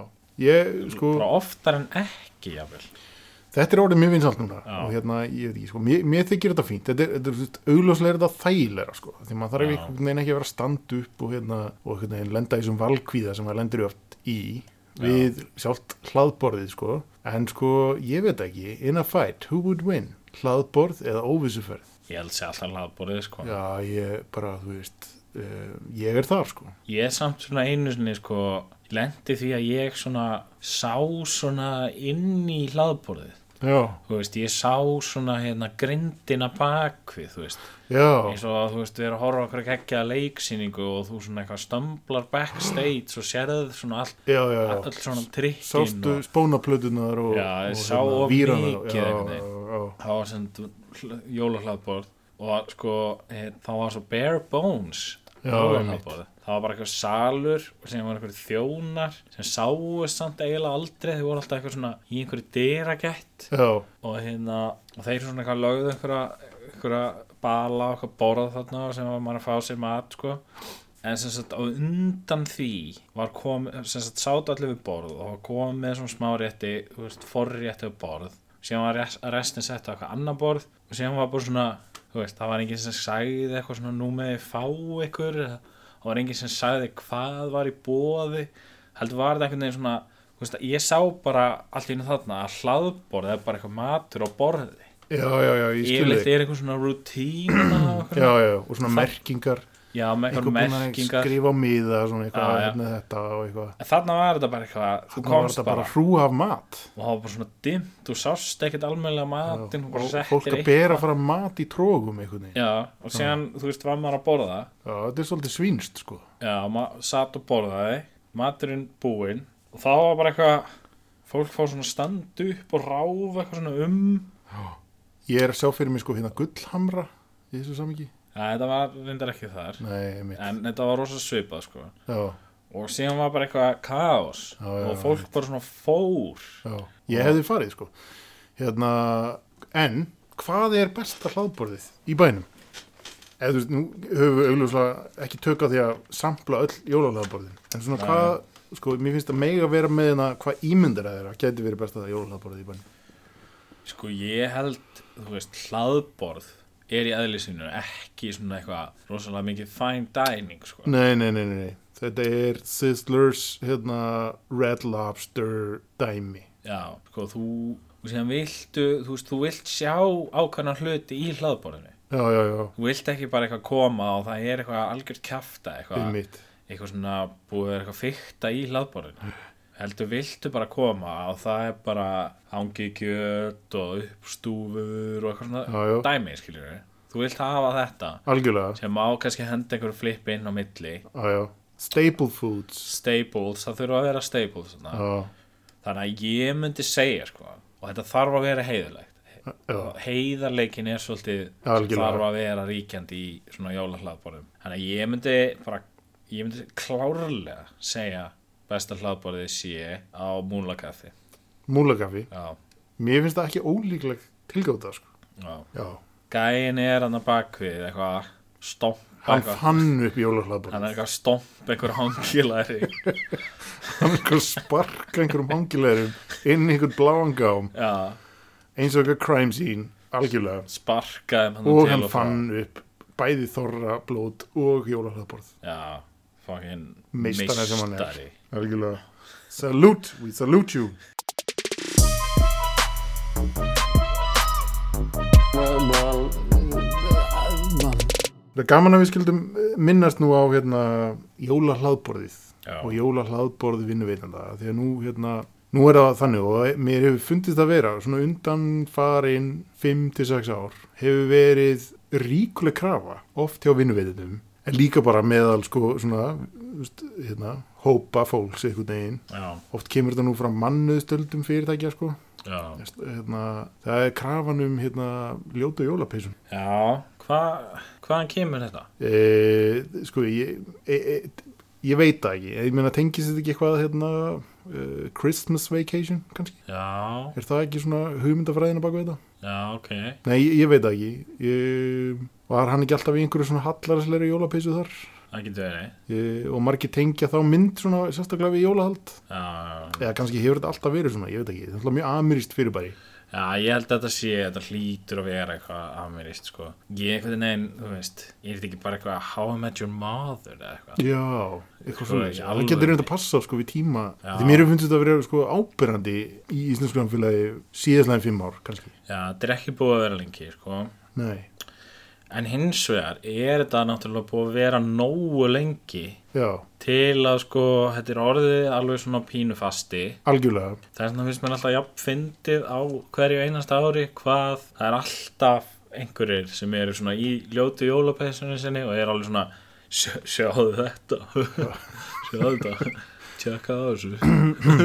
ég sko
bara oftar en ekki jafnvel
þetta er orðið mjög vinsalt núna
Já.
og hérna ég veit ekki sko mér, mér þykir þetta fínt þetta er, þetta er þú veist, augljóslega er þetta þægilega sko því maður þarf
Já.
einhvern veginn ekki að vera að standa upp og hérna og einhvern veginn lenda í þessum valkvíða sem maður lendur í oft í við sjálft hlaðborðið sko en sko ég veit ekki in a fight who would win hlaðborð eða óvissuferð
ég held sér alltaf hlaðborðið sko
já ég bara þú veist uh, ég er þar sko
ég samt svona einu sinni sko lendi því að ég svona sá svona inn í hlaðborðið
já
þú veist, ég sá svona hérna grindina bakvið, þú veist
já
eins og að þú veist, við erum að horfa okkur að kekja leiksýningu og þú svona eitthvað stömblar backstage og sérðið svona allt
já já já
allt svona trikkin
sástu
og
spónaplötunar og,
Já, ég
og
sá of
vírana.
mikið
já,
einhvern veginn.
já, já.
það var sem jólahlaðborð og sko eh, það var svo bare bones
Já, einmitt.
jólahlaðborð það var bara eitthvað salur og sem var einhverju þjónar sem sáu samt eiginlega aldrei þau voru alltaf eitthvað svona í einhverju dyragætt
Já,
og hérna og þeir svona eitthvað lögðu einhverja, einhverja bala og eitthvað borða þarna og sem var maður að fá sér mat sko en sem sagt á undan því var komið, sem sagt sátu allir við borð og var komið með svona smá rétti þú veist, forrétti við borð síðan var rest, restin sett á eitthvað annar borð og síðan var bara svona, þú veist, það var enginn sem sagði eitthvað svona nú með þið fá ykkur eða það var enginn sem sagði hvað var í bóði heldur var þetta einhvern veginn svona þú veist, ég sá bara allt í einu þarna að hlaðborð er bara eitthvað matur á borði
já, já, já, ég skil
yfirleitt
þig
er eitthvað svona
(clears throat)
rutína og eitthvað-
Já, já, og svona merkingar
já, með
Eitthvað
eitthvað
búin að
merkingar
skrifa á miða Svona eitthvað,
Já, já.
hérna þetta og eitthvað
En þarna var þetta bara eitthvað, þú
Þannig var
komst
þetta
bara,
bara hrú af mat
og það var bara svona dimmt, þú sást ekkert almennlega matinn, þú bara
Og Fólk
settir
að bera fram mat í trógum einhvern veginn Já,
Já, og síðan, þú veist, var maður að borða,
þetta er svolítið svínst, sko
já, maður satt og borðaði, maturinn búinn, og það var bara eitthvað, fólk fór svona að standa upp og ráfa eitthvað svona um,
Ég er að sjá fyrir mig, sko, hérna gullhamra Í þessu samingi
já, þetta var reyndar ekki þar,
Nei, mitt,
en þetta var rosa svipað, sko,
já,
og síðan var bara eitthvað kaos,
Já, já,
og fólk bara svona fór,
já Ég hefði farið, sko Hérna, en Hvað er besta hlaðborðið í bænum? Eða þú veist, nú höfum við augljóslega ekki tök á því að sampla öll jólalaðborðin. En svona hvað, sko, mér finnst að mega vera með hérna hvað ímyndar að þeirra geti verið best að það jólalaðborðið í bænum.
Sko ég held, þú veist, hlaðborð er í eðlisínu ekki svona eitthvað rosalega mikið fine dining, sko.
Nei, nei, nei, nei, nei. Þetta er Sizzlers, hérna, Red Lobster dæmi.
Já, sko þú, og síðan viltu, þú veist, þú vilt sjá ákvæmna hluti í hlaðborðinu.
Já, já, já,
Þú vilt ekki bara eitthvað koma og það er eitthvað algjört kjafta,
við
eitthvað,
mitt.
eitthvað svona búið að vera eitthvað fykta í hlaðborðinu. Heldur viltu bara koma og það er bara hangi kjöt og uppstúfur og eitthvað svona
Já, já.
dæmi, skiljur við. Þú vilt hafa þetta.
Algjörlega,
sem á kannski að henda einhverju flippi inn á milli
já, já. Staple Foods.
staples, það þurfa að vera staples þarna.
Já,
þannig að ég myndi segja sko, og þetta þarf að vera heiðilegt
já,
heiðarleikin er svolítið sem
Algjörlega.
þarf að vera ríkjandi í svona jólahlaðborðum þannig að ég myndi bara ég myndi klárlega segja besta hlaðborðið sé á múlakaffi
múlagafi.
já,
Mér finnst það ekki ólíkleg tilgáta, sko.
já.
Já,
gæin er hann að bakvið eitthvað stomp
hann
eitthvað-
fann upp jólalaðborðið.
hann er eitthvað stomp einhver
(laughs)
hangilæri
hann er eitthvað að sparka einhverjum hangilegurum inn í einhvern bláan gám
já
eins og eitthvað crime scene algjörlega
sparkaði um hann
og
til
hann
og frá.
fann upp bæði þorra blót og jólahraðborð
já, fucking
meistana sem hann er
meistari.
algjörlega salute, we salute you
Well, well, uh, uh,
eh, það er gaman að við skildum minnast nú á hérna, jólahraðborðið
Já.
og jóla hlaðborð vinnuveitenda því að nú, hérna, nú er það þannig og mér hefur fundist að vera svona undanfarin 5-6 ár hefur verið ríkuleg krafa oft hjá vinnuveitendum en líka bara meðal sko svona þú veist, hérna, hópa fólks einhvern veginn
já,
oft kemur þetta nú frá mannuðstöldum fyrirtækja sko
já,
hérna, það er krafan um hérna, ljótu jólapeysun
já. Hva, hvaðan kemur þetta?
e, sko ég, e, e, ég veit það ekki ég meina tengist þetta ekki eitthvað hérna, uh, Christmas Vacation kannski
Já,
er það ekki svona hugmyndafræðina bak við þetta
já, ok,
nei ég, ég veit það ekki ég, var hann ekki alltaf í einhverju svona hallarsleiri jólapeysu þar
það getur verið.
ég, og margir tengja þá mynd svona sérstaklega við jólahald
Já, já, já.
eða kannski hefur þetta alltaf verið svona ég veit ekki, þetta er alltaf mjög amirist fyrirbæri
já, ég held að þetta sé, þetta hlýtur að vera eitthvað amirist, sko. Ég einhvern veginn, þú veist, ég er þetta ekki bara eitthvað How I Met Your Mother eða eitthvað.
Já, eitthvað
Svo
svona
Sko, í
Það
alvöru.
getur einhvern að passa sko við tíma
Já.
Því mér hefur fundið þetta að vera sko ábyrrandi í íslensku samfélagi síðastlega en fimm ár kannski
Já, þetta er ekki búið að vera lengi, sko.
Nei,
En hins vegar er þetta náttúrulega búið að vera nógu lengi
já,
til að sko, þetta er orðið alveg svona pínu fasti.
algjörlega
Það er svona finnst mér alltaf jafn fyndið á hverju einast ári hvað það er alltaf einhverjir sem eru svona í ljótu jólapeysunni sinni og er alveg svona "Sjá- sjáðu þetta (laughs) sjáðu þetta tjekka á þessu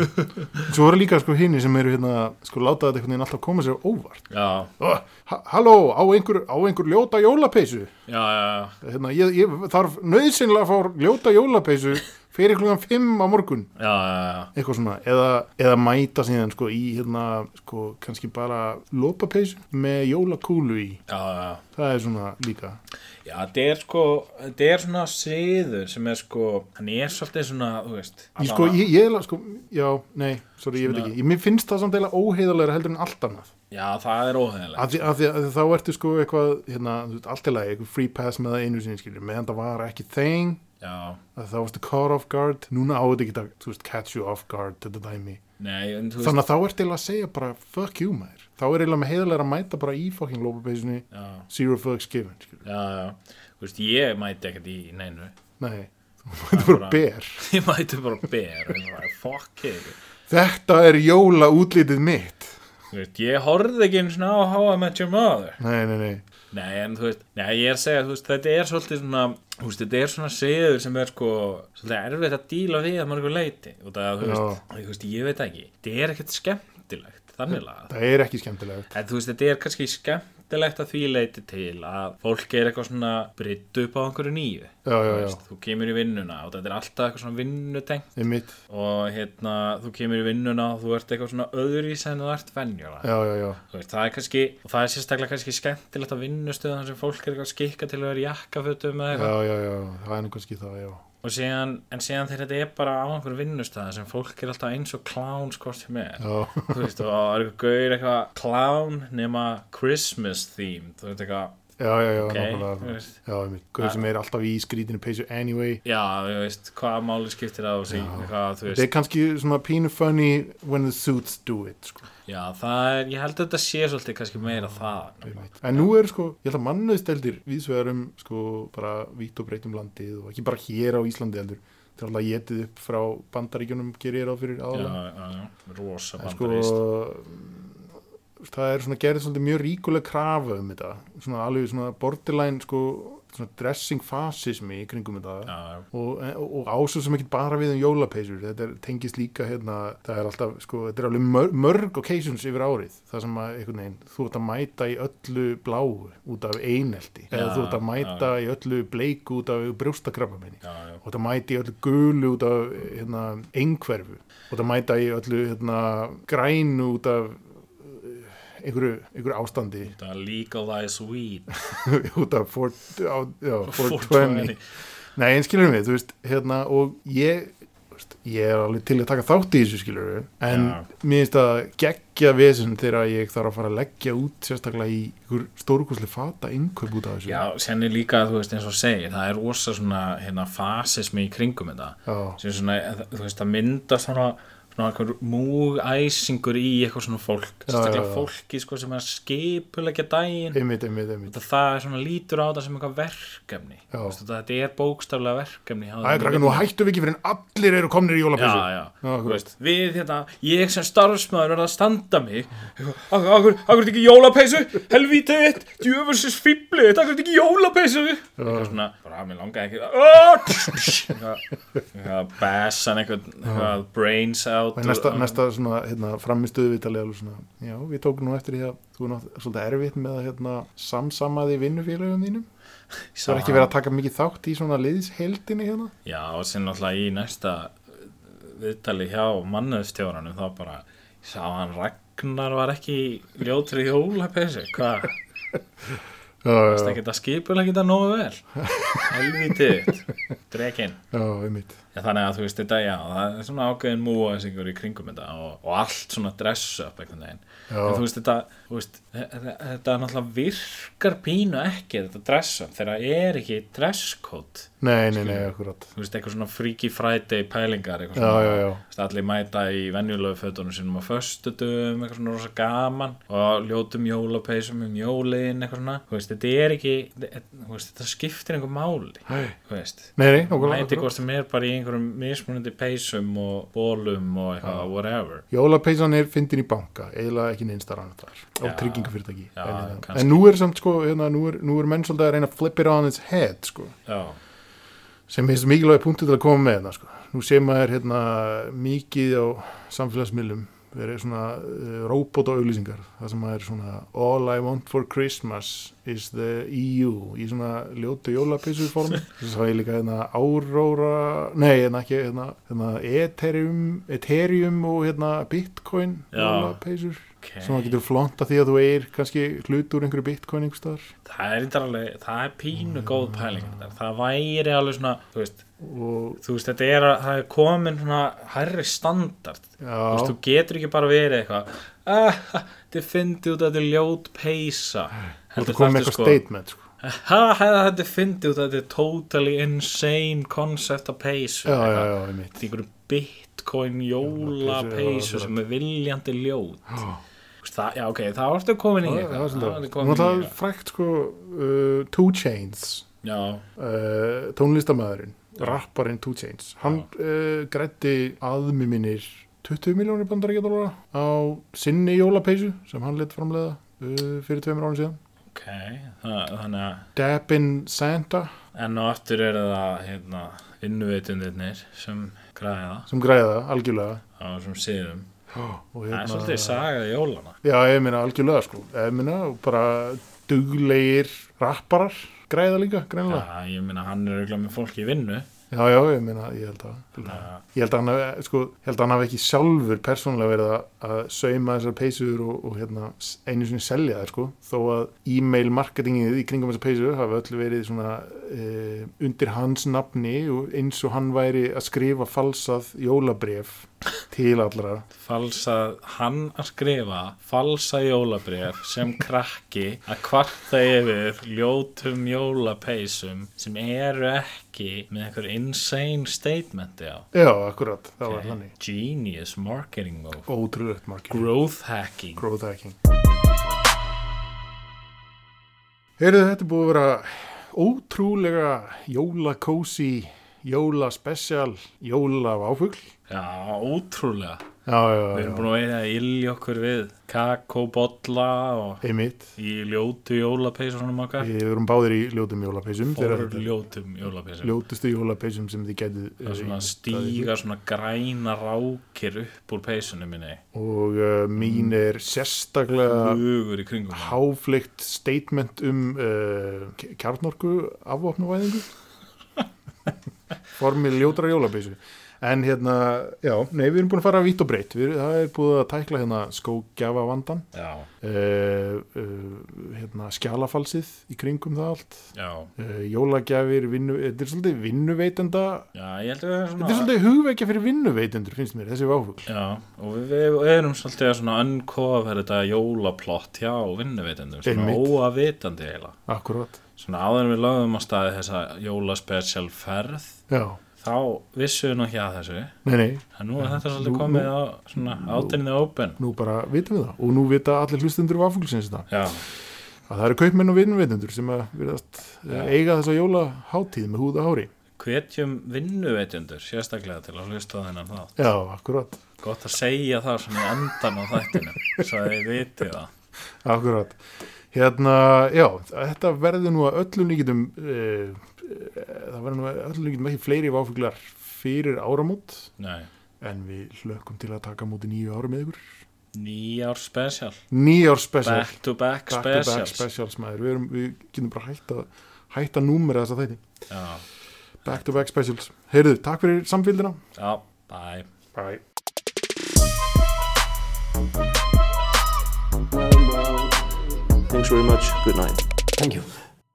Svo voru líka sko hini sem eru hérna sko láta þetta einhvern veginn alltaf koma sér á óvart
já,
Ó, ha Halló, á einhver, á einhver ljóta jólapeysu
já, já,
hérna, ég, ég þarf nöðsynlega að fá ljóta jólapeysu fyrir klugan fimm á morgun
já, já,
eitthvað svona, eða, eða mæta síðan sko í hérna, sko kannski bara lópapeysu með jólakúlu í
já, já, já.
það er svona líka
Já, þetta er sko, þetta er svona siður sem er sko, hann er svolítið svona, þú veist.
Ég sko, ég, ég la- sko, já, nei, sorry, ég veit ekki, ég, mér finnst það samt eiginlega óheiðarlega heldur en allt annað,
Já, það er óheðilega.
af því, af því að þá ertu sko eitthvað, hérna, þú veist, allt í lagi, eitthvað free pass með það einu sinni, skiljum, meðan það var ekki þeng,
Já,
að það varstu caught off guard, núna á þetta ekki að, þú veist, catch you off guard, þetta dæmi,
nei, en þú veist,
þannig að þá ertu eiginlega að segja bara, fuck you, maður, þá er eiginlega með heiðarlega að mæta bara í fucking lópapeysunni,
já,
zero fucks given, skiljum,
já, já, þú veist, ég mæti ekkert í neinu.
nei, (laughs) þú voru
bara-
ber,
Ég mæti bara ber, en það er fuck it.
þetta er jóla útlitið mitt,
Þú veist, ég horfði ekki eins og á How I Met Your Mother.
nei, nei, nei,
Nei, en þú veist, nei, ég er að segja, þú veist, þetta er svolítið svona, þú veist, þetta er svona siður sem er sko, svolítið erfitt að díla við að mörgur leiti. Og það, þú veist, þú veist, ég veit það ekki, þetta er ekkert skemmtilegt, þannig lagað.
það er ekki skemmtilegt.
En þú veist, þetta er kannski skemmtilegt að því leiti til að fólk er eitthvað svona britt upp á einhverju nýju.
Já, já,
Þú
já.
Þú kemur í vinnuna og þetta er alltaf eitthvað svona vinnutengt
Einmitt.
og hérna, þú kemur í vinnuna og þú ert eitthvað svona öðrís en þú ert venjulega.
Já, já, já.
Þú Veist, það er kannski, og það er sérstaklega kannski skemmtilegt að vinnustöðu þar sem fólk er eitthvað að skikka til að vera í jakkafötum eða eitthvað
Já, já, já, það er nú kannski það, já.
og síðan, en síðan þegar þetta er bara á einhverjum vinnustöðu sem fólk er alltaf eins og clowns hvort sem er
Já,
þú veist, og það er eitthvað gaur eitthvað clown nema Christmas theme þú veist eitthvað,
já, já, já,
ok, þú
nákvæmlega.
veist
Já, einmitt. Guður sem er alltaf í skrítinu peysu anyway.
já, þú veist, hvað máli skiptir það og sí, hvað, þú
Þetta
veist,
er kannski svona pínu funny when the suits do it, sko.
já, það er ég held að þetta sé svolítið kannski meira það
Einmitt. En nú er sko, ég held að mannöðsteldir viðsvegarum sko bara vítt og breytum landið og ekki bara hér á Íslandi heldur. Þetta er alltaf getið upp frá bandaríkjunum gerir ég ráð fyrir
já,
aðalega.
já, já, rosa
En sko, mm,
bandarist
það er svona gerðið svolítið mjög ríkuleg krafa um þetta. Svona alveg svona borderline sko, svona dressing fascismi í kringum þetta.
já, já,
og, eh, og ásum sem ekki bara við um jólapeysur þetta er, tengist líka hérna það er alltaf, sko, þetta er alveg mörg, mörg occasions yfir árið, það sem að einhvern veginn, þú ert að mæta í öllu bláu út af einelti, eða
Já,
þú ert að mæta í öllu bleiku út af brjóstakrabba minni
já, já.
og það mæti í öllu gulu út af hérna, einhverfu og það mæta í öllu hérna, grænu út af eh, einhverju, einhverju ástandi
Þetta legalize weed
(laughs) út af 4, á, já, 420
420.
Nei, en skilur við, þú veist, hérna og ég, þú veist, ég er alveg til að taka þátt í þessu skilur við en
Já.
mér finnst það geggja vesen þegar ég þarf að fara að leggja út sérstaklega í einhver stórkosli fata innkaup út af þessu
Já, sérni líka, þú veist, eins og segir það er rosa svona, hérna, fasismi í kringum þetta
Já.
sem svona, þú veist, það mynda svona svona einhver múgæsingur í eitthvað svona
Já,
fólk
já,
sérstaklega
já.
fólki sko, sem er að skipulegja daginn
einmitt, einmitt, einmitt
það, það er svona lítur á þetta sem eitthvað verkefni
Já.
Vistu, þetta er bókstaflega verkefni Það
Æ,
er
krakka, nú hættum við ekki fyrir en allir eru komnir í
Já,
jólapessu
já,
þú
þú
veist.
veist, við hérna, ég sem starfsmaður verða að standa mig Akkur, akkur, akkur er þetta ekki jólapeysu, helvítið þitt, djöfelsins fýblið þitt, akkur er þetta ekki jólapeysu Eitthvað svona, bara mér langaði "Öh!" ekki Eitthvað- Eitthvað bassan, eitthvað, eitthvað brains out
Og í næsta, næsta svona, hérna, framistuðu vitali alveg svona, já, við tókum nú eftir því að þú er nátt svolítið erfitt með að hérna, samsama því vinnufélagum þínum
næsta,
það er ekki verið að taka mikið þátt í svona liðsheldinni hérna
Já, og sem náttúrulega í næsta viðtali hjá mannöðstjóranum þá bara ég sá hann Ragnar var ekki í ljótri hjólapessu, hvað?
Já,
Það
já,
geta skipulega geta
(laughs)
nógu vel Helvítið Drekinn
já, einmitt
Já, þannig að þú veist þetta, já, það er svona ákveðin múaðsingur í kringum þetta og, og allt svona dress up einhvern veginn.
Já.
En þú veist þetta, þú veist, þe- þe- þetta náttúrulega virkar pínu ekki þetta dress up þegar það er ekki dress code.
Nei, nei, nei, akkurat
Þú veist, eitthvað svona freaky friday pælingar,
Já,
eitthvað svona.
já, já.
Þú veist, allir mæta í venjulegu fötunum sínum á föstudum, eitthvað svona rosa gaman og ljótum jólapeysum um jólin, eitthvað svona. Þú veist, þetta er ekki, þetta, þú veist, þetta skiptir einhver máli,
Nei.
þú veist
Nei, nei, nákvæmlega
mæti
akkurat.
hvort sem er bara í einhverjum mismunandi peysum og bólum og eitthvað, whatever
Jólapeysan er fyndin í banka, eiginlega ekki neinstar annað þar, á
Já.
tryggingafyrirtæki
Já,
en, hérna.
kannski.
en nú er samt sko, hérna, nú er, nú er menn svolítið að reyna að flip it on its head sko,
já,
sem er mikilvæg punktu til að koma með hérna, sko. nú sé maður hérna, mikið á samfélagsmiðlum verið svona uh, robot og auglýsingar það sem maður er svona all I want for Christmas is the EU í svona ljótu jólapeysu form þess að ég líka hérna Aurora nei, hérna ekki hérna, hérna Ethereum, Ethereum og hérna Bitcoin
Já.
jólapeysur
ok
sem maður getur flonta því að þú er kannski hlut úr einhverju Bitcoin einhvers staðar
það er eitthvað alveg, það er pínu góð
Mm.
pæling þetta. það væri alveg svona þú veist,
og
þú veist þetta er, að- það er komin svona hærri standard þú veist,
já,
þú getur ekki bara verið eitthvað ah, þið fyndi út að þetta er ljót peysa
þú ert komið með eitthvað statement sko.
ha, ha, þetta er fyndi út að þetta er totally insane concept of peysu
já, já,
Eitthvað.
já, ég mitt
í einhverju bitcoin
Jólapeysu,
jólapeysu
já,
sem er viljandi ljót Þú veist, það, já ok, þá ertu komin í
Já,
eitthvað
já,
þá
svolítið.
ertu
Nú er
komin í
það
eitthvað
frækt sko uh, Two Chains
já,
uh, tónlistamæðurinn rapparinn Two Chains hann uh, grætti aðmiminir 20 miljónir bandaríkjadóra á sinni jólapeysu sem hann lit framlega uh, fyrir tveimur árið síðan
ok það, þannig að
Dabin Santa
enn og aftur eru það hérna, innveitundirnir sem græða
sem græða algjörlega
á þessum síðum
og hérna-
það er svolítið saga jólana
já ég meina algjörlega sko ég meina bara duglegir rapparar græða líka greinlega
já, ég meina hann er auðvitað með fólk í vinnu
Já, já, ég meina, ég held að Ég held að hann hafi, sko, ég held að hann hafi ekki sjálfur persónulega verið að- að sauma þessar peysur og, og hérna s- einu sinni selja þær, sko, þó að e-mail marketingið í kringum þessar peysur hafi öll verið svona e, undir hans nafni og eins og hann væri að skrifa falsað jólabref til allra
falsa, hann að skrifa falsa jólabref sem krakki að kvarta yfir ljótum jólapeysum sem eru ekki með einhver insane statementi á
Já, akkurat, það var þannig
genius marketing move
Ótrúlegt marketing,
growth hacking
growth hacking Heyrðu, þetta er búið að vera ótrúlega jólakósi, jólaspecial, jóla áfugl.
já, ótrúlega
Já, já,
við
já,
erum búin að veiða að ilja okkur við kakóbolla og
einmitt.
í ljótu jólapeysunum okkar
Við erum báðir í ljótum jólapeysum.
fór
Þegar þetta er
ljótum jólapeysum
Ljótustu jólapeysum sem þið eh, getið.
og svona stíga svona græna rákir upp úr peysunum minni
Og uh, mín er sérstaklega
hugur í kringum hana.
háfleikt statement um uh, kjarnorku afvopnavæðingu formið ljótra jólapeysu en hérna, já, nei við erum búin að fara vitt og breytt, við, það er búið að tækla hérna skógjafa vandan
já,
uh, hérna skjalafalsið í kringum það allt
já,
uh, jólagjafir, vinnu, þetta er svolítið vinnuveitenda
já, ég held að við erum
þetta er
svona
svolítið hugveikja fyrir vinnuveitendur finnst mér, þessi váfugl
já, og við, við erum svolítið að svona unnkofa þetta jólaplott hjá vinnuveitendum, svona
Einmitt.
óavitandi eiginlega,
akkurat,
svona áður en við lögum á staði þessa jólaspecial ferð
já,
þá vissuðu nú ekki að þessu
Nei, nei,
en nú er þetta
Nú-
svolítið komið
nú-
á svona átinni open
nú bara vitum við það og nú vita allir hlustendur vafuglisins þetta
já,
að það eru kaupmenn og vinnveitundur sem að virðast
Já.
ja. eiga þessa jólaháttíð með húða hári
hvetjum vinnuveitjendur sérstaklega til að hlusta á þennan þátt
Já, akkurat,
gott að segja það svona í endan á þættinum svo að þið viti það
akkurat Hérna, já, þetta verður nú að öllum líkitum e, það verður nú að öllum líkitum ekki fleiri váfuglar fyrir áramót
Nei.
en við hlökkum til að taka á móti nýju ára með ykkur
nýjár special
Nýjár special
back to back
Back to back
specials
specials maður, við, erum, við getum bara hætt að hætta númerið þess að þætti
já,
Back to back specials, heyrðu, takk fyrir samfélgina
já, bye
Bye
Thanks very much. Good night.
Thank you.